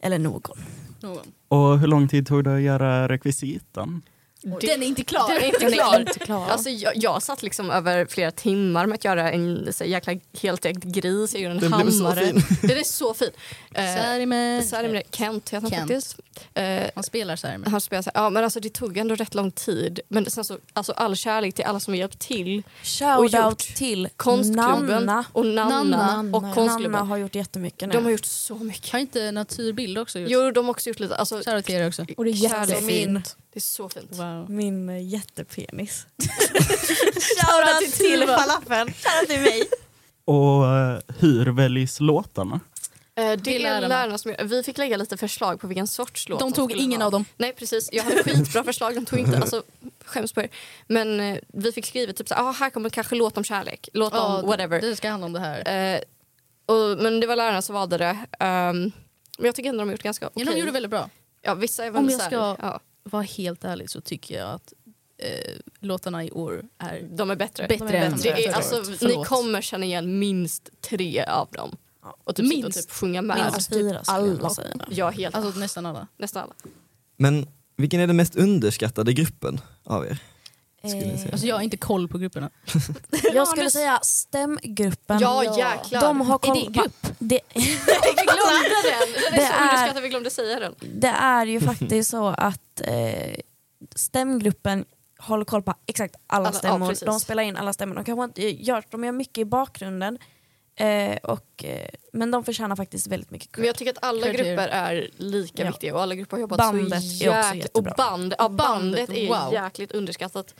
Eller någon. Någon. Och hur lång tid tog det att göra rekvisitan? Den är inte klar! Den är inte Jag är klar. inte klar. Alltså, jag, jag satt liksom över flera timmar med att göra en så här, jäkla heltäckt gris. Jag gjorde en Den hammare. blev så [LAUGHS] Den är så fin. Eh, Särime. Särimner, Kent heter han Kent. faktiskt. Eh, Han spelar Särime. han spelar så här, ja men alltså det tog ändå rätt lång tid. Men sen så, alltså all kärlek till alla som har hjälpt till. Shout out gjort till Konstklubben Nanna. och Nanna, Nanna. och Nanna konstklubben. har gjort jättemycket nu. De har gjort så mycket. Har inte Naturbild också gjort? Jo, de har också gjort lite, alltså Shoutout till er också. och det är kärlek. jättefint. det är så fint. Wow. Min eh, [LAUGHS] jättepenis. Shoutout till till, till Tuva. falafeln. Shoutout till mig. Och eh, hur väljs låtarna? Eh, det, Det är är lärarna. lärarna. som gör, vi fick lägga lite förslag på vilken sorts låt De som tog skulle ingen ha. av dem. Nej precis, jag hade skitbra förslag. De tog inte, alltså skäms på er. Men eh, vi fick skriva typ såhär, ah, här kommer kanske låt om kärlek, låt Ja, om whatever. Det ska handla om det här. Eh, och, men det var lärarna som valde det. Ehm, men jag tycker ändå de har gjort ganska okej. Ja, de gjorde väldigt bra. ja, vissa är väl Om jag så här, ska- ja, Var helt ärlig så tycker jag att eh, låtarna i år är de är bättre. bättre de är än bättre. Det är, förra alltså, året. ni Förlåt. kommer känna igen minst tre av dem. Och typ sitta och Minst. typ sjunga med. Minst Alltså, fyra skulle jag alla. säga. Ja, helt. Alltså nästan alla. nästan [LAUGHS] alla. Men vilken är den mest underskattade gruppen av er? Skulle jag säga. Eh, Alltså jag har inte koll på grupperna. [LAUGHS] jag skulle säga stämgruppen. Ja, jäklar. De har Är koll det en grupp? på- Det, [LAUGHS] Vi glömde den! Den är Det så är- underskattad, vi glömde säga den. det är ju faktiskt så att eh, stämgruppen håller koll på exakt alla, Alla- ja, stämmor. precis. de spelar in alla stämmor. De, kanske inte gör, de gör mycket i bakgrunden. Eh, och, eh, men de förtjänar faktiskt väldigt mycket Men cred. jag tycker att alla Cred to you. grupper är lika Ja. viktiga och alla grupper har jobbat Bandet så är också jäkla... Och jättebra. band, ja, bandet Bandet, är wow. jäkligt underskattat.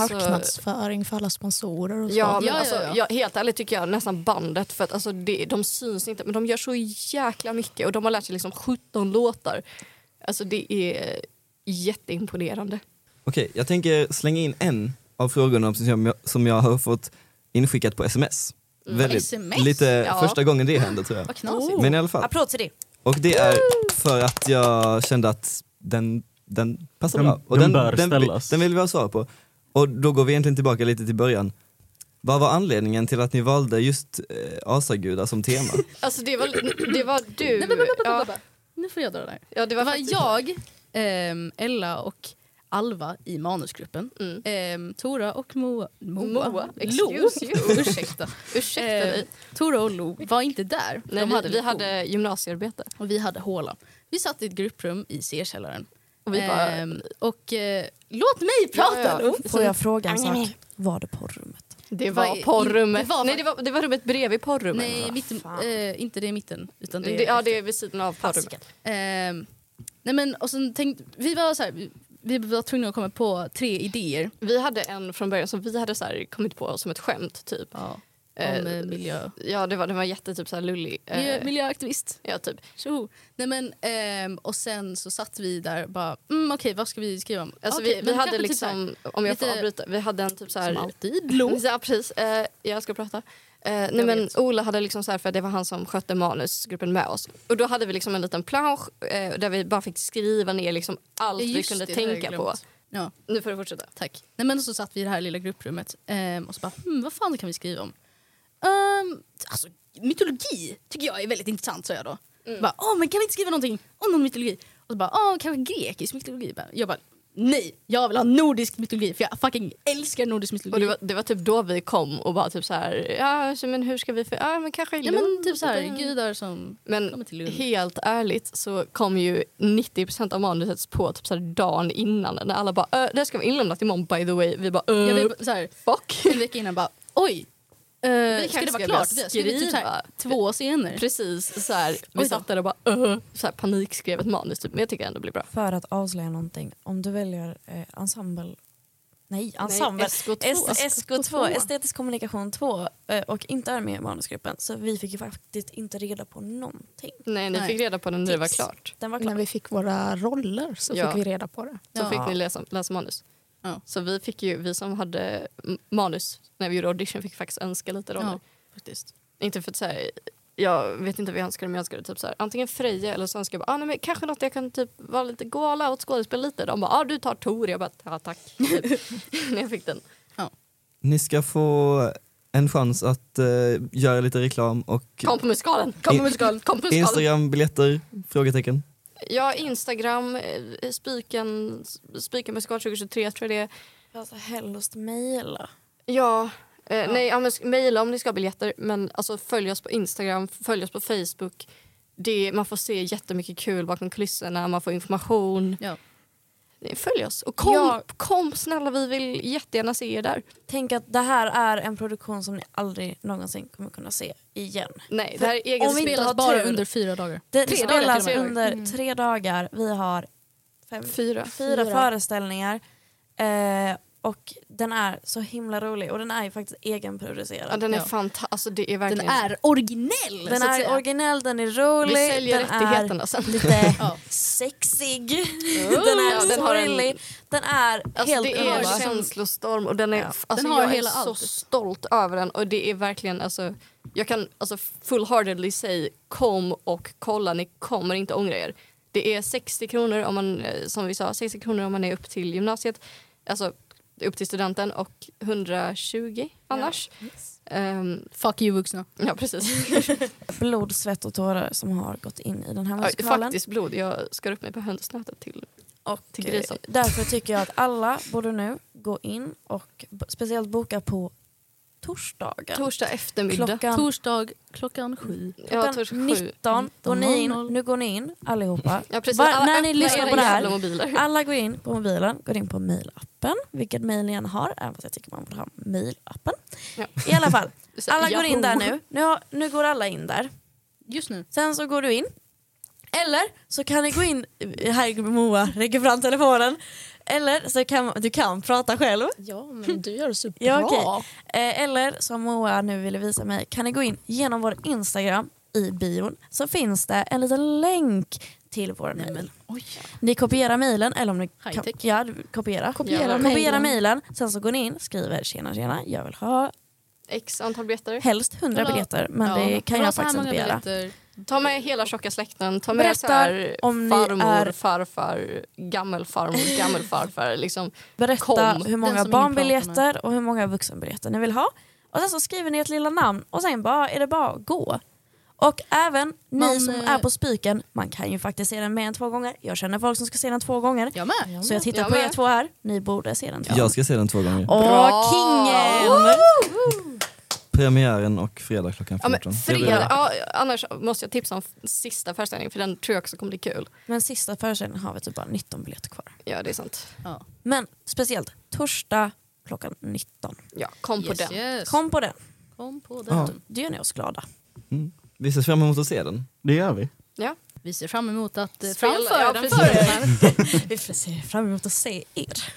Marknadsföring för alla sponsorer och så. Alltså- Ja, men Ja, ja, alltså, ja. Jag, helt ärligt tycker jag nästan bandet för att alltså, det, de syns inte men de gör så jäkla mycket och de har lärt sig liksom 17 låtar. Alltså det är jätteimponerande. Okej, jag tänker slänga in en av frågorna som jag, som jag har fått inskickat på sms. Mm. Väldigt, SMS? Lite Ja. första gången det händer tror jag. Vad knasigt. Men i alla fall. Applåd till det. Och det är för att jag kände att den, den passar Den- bra. Och den bör den, ställas. Den vill vi ha svar på. Och då går vi egentligen tillbaka lite till början. Vad var anledningen till att ni valde just eh, asagudar som [LAUGHS] tema? Alltså det var, det var du. Nej, men, men, men, men, ja, men, Nu får jag dra det här. ja, det Det var, var faktiskt- jag, ehm, Ella och Alva i manusgruppen. Mm. Ehm, Tora och Moa... Moa? Moa, Lo? excuse you. [LAUGHS] Ursäkta. Ursäkta Eh, dig. Tora och Lo var inte där. Nej, De vi, vi lektion. hade gymnasiearbete. Och vi hade håla. Vi satt i ett grupprum i C-källaren. Och vi bara, Ehm, och eh, låt mig prata Ja, ja. Lo! Får jag fråga en sak? Var det porrummet? det var var i- porrummet. det var- Nej, det var, det var rummet bredvid porrummet. Nej, mitten, Fan. eh, inte det i mitten. Utan det, Det, ja, det är vid sidan av porrummet. Ehm, nej men, och sen tänkte, vi var så här, vi, vi var tvungna att komma på tre idéer Vi hade en från början som vi hade så här kommit på som ett skämt. Typ. om Eh, eh, miljö. Ja, det var, den var jättetyp så här lullig. Eh, miljö. Miljöaktivist. Ja, typ. Tjoho. Nej men, ehm, och sen så satt vi där och bara, mm, okej vad ska vi skriva om? Alltså, Okej, vi, vi men hade kanske typ så här, liksom, om jag får lite- avbryta, vi hade en typ så här... som alltid, Lo. Ja, precis. Eh, jag ska prata. Eh, nej, Jag men vet. Ola hade liksom så här, för det var han som skötte manusgruppen med oss. Och då hade vi liksom en liten plansch eh, där vi bara fick skriva ner liksom allt vi Just kunde det, det hade jag tänka på. glömt. Ja. Nu får du fortsätta. Tack. Nej, men så satt vi i det här lilla grupprummet ehm, och så bara, hmm, vad fan kan vi skriva om? Ehm, alltså, mytologi tycker jag är väldigt intressant, sa jag då. Mm. Bara, Åh, men kan vi inte skriva någonting om någon mytologi? Och så bara, Åh, kanske grekisk mytologi? Bara- Jag bara, nej, jag vill ha nordisk mytologi för jag fucking älskar nordisk mytologi. Och det var, det var typ då vi kom och bara typ så här, ja så, men hur ska vi, för, ja men kanske i ja, Lund men typ så och- här, gudar som kommer Men till Lund. helt ärligt så kom ju 90 av manuset på typ så här dagen innan när alla bara äh, det här ska vara inlämnat imorgon by the way. Vi bara Jag äh, vill bara- så här, fuck. [LAUGHS] en vecka innan bara, oj, vi vi ska kanske det vara ska klart? Vi börja har skrivit typ så här, skriva. två scener. Precis så här, Oj vi då. satt där och bara äh, så här panikskrev ett manus typ men jag tycker ändå det blir bra. För att avslöja någonting, om du väljer eh, ensemble... Nej, ensemble. SK2. S- SK2, estetisk kommunikation 2 eh, och inte är med i manusgruppen så vi fick ju faktiskt inte reda på någonting. Nej ni Nej. fick reda på den när det var Tips. klart. Den var När klar. vi fick våra roller så Ja. fick vi reda på det. Så Ja. fick ni läsa, läsa manus. Ja. Så vi fick ju, vi som hade m- manus när vi gjorde audition fick faktiskt önska lite roller. Ja, faktiskt. Inte för att så här, jag vet inte vad jag önskade men jag önskade typ så här, antingen Freja eller så önskade jag bara, ah, nej, men kanske något jag kan typ vara lite gå all out skådespela lite. De bara ah, du tar Tor, jag bara ja, tack. [LAUGHS] Typ. när jag fick den. Ni ska få en chans att eh, göra lite reklam och Kom på musikalen! In- Kom på musikalen! Kom på musikalen! Instagram-biljetter? Frågetecken. Ja, Instagram, eh, Spiken, Spiken musikal 2023 tror jag det är. Alltså helst mejla. Ja, eh, nej, ja, men sk- mejla om ni ska ha biljetter. Men alltså, följ oss på Instagram, följ oss på Facebook. Det, man får se jättemycket kul bakom kulisserna, man får information. Ja. Följ oss och kom, Ja. kom snälla, vi vill jättegärna se er där. Tänk att det här är en produktion som ni aldrig någonsin kommer kunna se igen. Nej, det här är egen Om vi spel. inte har Spelas bara tur. under fyra dagar. Det Tre dagar spelas till och med. Mm. under tre dagar. Vi har fem, fyra, Fyra. föreställningar. Eh, och den är så himla rolig och den är ju faktiskt egenproducerad. Ja, den är Ja. fantastisk. Alltså, det är Den verkligen... är originell! Den så att är säga. originell, den är rolig, vi säljer den är rättigheterna sen. [LAUGHS] lite Ja. sexig, den är Ja, den har en- sorglig, den är Alltså, helt det är underbar. en känslostorm och den är, Ja. alltså, Den har jag hela är så allt. stolt över den och det är verkligen alltså, jag kan alltså fullheartedly säga kom och kolla, ni kommer inte ångra er. Det är 60 kronor om man, eh, som vi sa, 60 kronor om man är upp till gymnasiet, alltså upp till studenten och 120 annars. Ehm, Fuck you vuxna. ja [LAUGHS] precis. Blod, svett och tårar som har gått in i den här Ja, musikalen. faktiskt blod, jag skar upp mig på hönsnätet till Och till grisen. eh, därför tycker jag att alla borde nu gå in och b- speciellt boka på torsdagar. torsdag eftermiddag. Klockan, Torsdag klockan sju. ja, klockan torsdag 19 sju. går ni in, 19.00. nu går ni in [LAUGHS] allihopa. Ja, precis. Var- Alla när ni öppna lyssnar era på det här- jävla mobiler. Alla går in på mobilen, går in på mailappen, vilket mail ni än har, även fast jag tycker man borde ha mailappen. Ja. I alla fall, Så- alla går Yahoo. in där nu. Nu, har, nu går alla in där. Just nu. Sen så går du in. Eller så kan du gå in, här Moa räcker fram telefonen. Eller så kan du kan prata själv. Ja, men du gör det superbra. Ja, okej. Eh, Eller som Moa nu ville visa mig, kan ni gå in genom vår Instagram i bion så finns det en liten länk till vår mail. Oj. Ni kopierar mailen eller om ni kan, High-tech. ja, du- kopiera. Kopiera Ja, mailen. kopiera mailen. Sen så går ni in, skriver tjena tjena, jag vill ha X antal biljetter. helst 100 Hallå. biljetter men det kan Bra, jag så här faktiskt inte många begära. biljetter. Ta med hela tjocka släkten, ta med Berätta så här om ni farmor, är- farfar, gammelfarmor, gammelfarfar. Liksom. Berätta Kom. hur Den många som ingen pratar barnbiljetter och hur många vuxenbiljetter ni vill ha. Och sen så skriver ni ett lilla namn och sen bara, är det bara att gå. Och även ni Man, som eh, är på spiken, man kan ju faktiskt se den mer än två gånger. Jag känner folk som ska se den två gånger. Jag med. Så jag tittar Jag på med. er två här, ni borde se den två Jag ska se den två gånger. Åh, Bra. kingen! Premiären och fredag klockan Ja, 14. men Det blir fredag, ja, annars måste jag tipsa om f- sista föreställningen för den tror jag också kommer bli kul. Men sista föreställningen har vi typ bara 19 biljetter kvar. Ja, det är sant. Men speciellt torsdag klockan 19. Ja, kom på Yes, den. yes. Kom på den, Kom på den. Ja. det gör ni oss glada. mm. Vi ser fram emot att se [LAUGHS] den. Det gör vi. Ja. Vi ser fram emot att eh, Spela- framföra ja, den precis. för er. Vi ser fram emot att se er. [LAUGHS]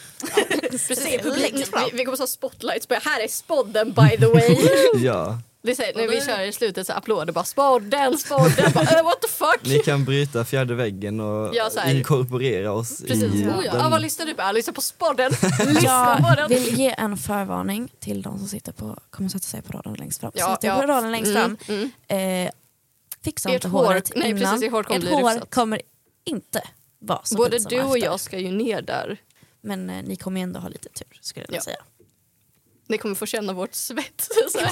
Precis, publiken. Vi, vi kommer att ha spotlights på er. Här är spodden by the way. [LAUGHS] Ja, Det är så här, när vi kör i slutet så applåder bara spodden, spodden. Bara, "Eh, what the fuck? ni kan bryta fjärde väggen och Ja, så här. inkorporera oss Precis. Oh i Ja. den. Ja, vad lyssnar du på? Ja, Lyssna [LAUGHS] på spodden. Lyssna på Jag den. vill ge en förvarning till de som sitter på, kommer sätta sig på raden längst fram. Ja, Sätt er ja. på raden längst Mm, fram. Eh, fixa Ert inte hår- håret nej, innan. precis, ert hår kommer ert bli hår rufsat. kommer inte vara så Både fint som du och efter. jag ska ju ner där. Men eh, ni kommer ju ändå ha lite tur skulle jag Ja. säga. Ni kommer få känna vårt svett. [LAUGHS] Så här.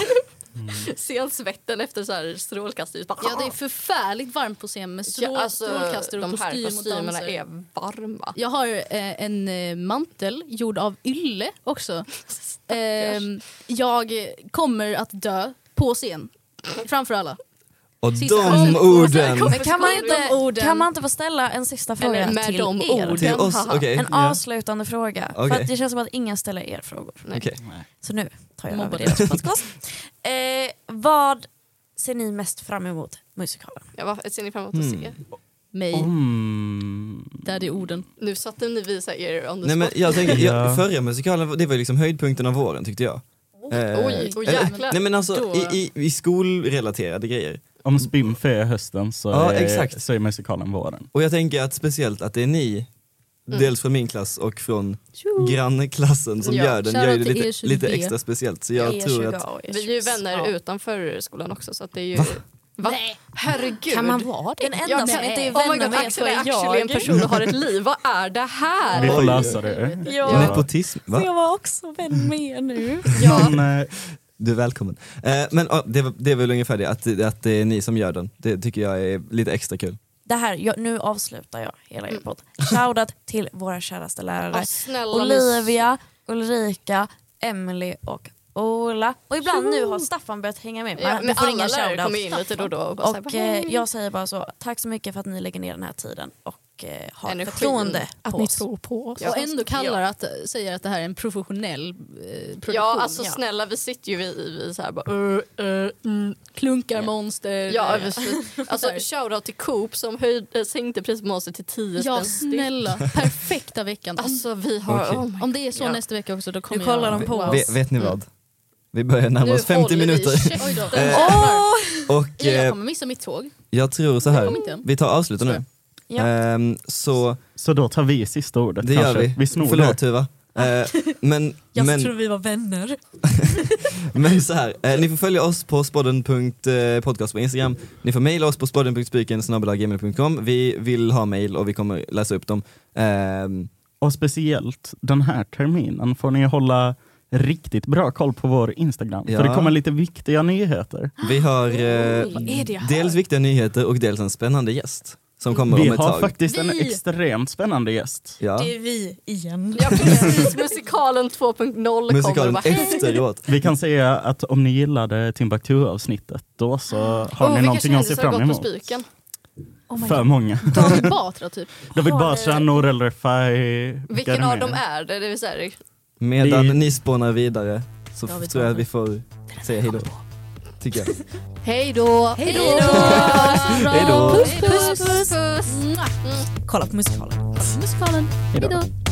Mm. Sen svetten efter så här strålkastljus. Bara- Ja, det är förfärligt varmt på scen med strål, Ja, alltså, strålkastare och De här kostym och kostymerna danser. är varma. Jag har eh, en eh, mantel gjord av ylle [LAUGHS] också. Ehm, jag kommer att dö på scen. Framför alla. Och Sista de chansen. orden! Men kan man, Med de inte, orden. kan man inte få ställa en sista fråga Eller med till de er? orden. Till oss, Haha. okej. En Ja. avslutande fråga. För Okej. att det känns som att ingen ställer er frågor. Okej. Så nu tar jag över Mobbade. deras podcast. Eh, vad ser ni mest fram emot musikalen? Ja, vad ser ni fram emot att se? Mig. Mm. Där är orden. Nu satte ni visa er on the Nej men spot. jag tänker, jag, Ja. förra musikalen, det var ju liksom höjdpunkten av våren tyckte jag. Eh, Oj, oj, eh, jäklar. Nej men alltså Då- i, i, i skolrelaterade grejer. Om Spimf är hösten så, Ja, är, exakt. så är musikalen våren. Och jag tänker att speciellt att det är ni, dels från min klass och från grannklassen som Ja, gör den, gör ju det shoutout till lite, lite E er 20B. extra speciellt. Så jag tror att, och Vi är ju vänner Ja. utanför skolan också så att det är ju... Va? Va? Herregud. Kan man vara det? Den enda som inte är Oh my vänner god, med så Axel är är actually en jag. person och har ett liv. Vad är det Vi här? får lösa det. Ja. Nepotism, va? Jag var också vän med nu. Men, eh, Du är välkommen. Eh, men ja, det, var- det är väl ungefär det, att, att det är ni som gör den. Det tycker jag är lite extra kul. [LAUGHS] Det här, jag, nu avslutar jag hela er podd. Shoutout till våra käraste lärare. Ja, snälla, Olivia, Ulrika, Emily och Ola. Och ibland nu har Staffan börjat hänga med. Ja, Man, men du får alla ingen lärare kommer in shoutout. lite då och då och bara Och så här, eh, jag säger bara så, tack så mycket för att ni lägger ner den här tiden och eh, har Energin. förtroende Att på ni oss. tror på oss. Ja. Och ändå kallar att, säger att det här är en professionell eh, produktion. Ja, alltså ja. snälla vi sitter ju vi, vi så här bara... Uh, uh, mm. Klunkarmonster. Ja, eh, precis. [LAUGHS] alltså shoutout till Coop som höjde, sänkte priset på monster till 10 ja spänn styck. snälla. [LAUGHS] Perfekta veckan. Om, Alltså vi har... Okej. Oh my om det är så Ja. nästa vecka också då kommer Nu kollar jag... de på oss. Ve- vet ni vad? Vi börjar närma oss 50 håller vi minuter käften. Oj [LAUGHS] då. och Jag eh, kommer missa mitt tåg. jag tror så här. kom inte än. vi tar avsluta nu. Ja. Ehm, så så då tar vi sista ordet det kanske. gör vi. vi snor Förlåt det. Tuva. Eh, men, Jag men, trodde vi var vänner. men så här, eh, ni får följa oss på spodden.podcast på Instagram. Ni får mejla oss på spodden.spiken Vi vill ha mejl och vi kommer läsa upp dem. Ehm, Och speciellt den här terminen får ni hålla riktigt bra koll på vår Instagram. Ja. För det kommer lite viktiga nyheter. vi har eh, Ah, är det jag hör? dels viktiga nyheter och dels en spännande gäst som kommer Vi om ett har tag. faktiskt en Vi- extremt spännande gäst. ja. Det är vi igen. Ja precis, musikalen 2.0 kommer och Musikalen bara hej. efteråt. Vi kan säga att om ni gillade Timbuktu-avsnittet, då så har Åh, ni vilka någonting att se kändisar har fram gått på emot. spiken. Oh För många. [LAUGHS] David Batra typ. David Har Batra, ni- Norel Refai. vilka är Vilken det av mer? dem är det? Det vill säga, Medan Vi- ni spånar vidare så Ja, vi tror jag tar att vi får säga hejdå. Tycker jag. Hej då! Hej då! Hej då. Puss puss! puss. Mua. Kolla på musikalen. Musikalen. Hej då!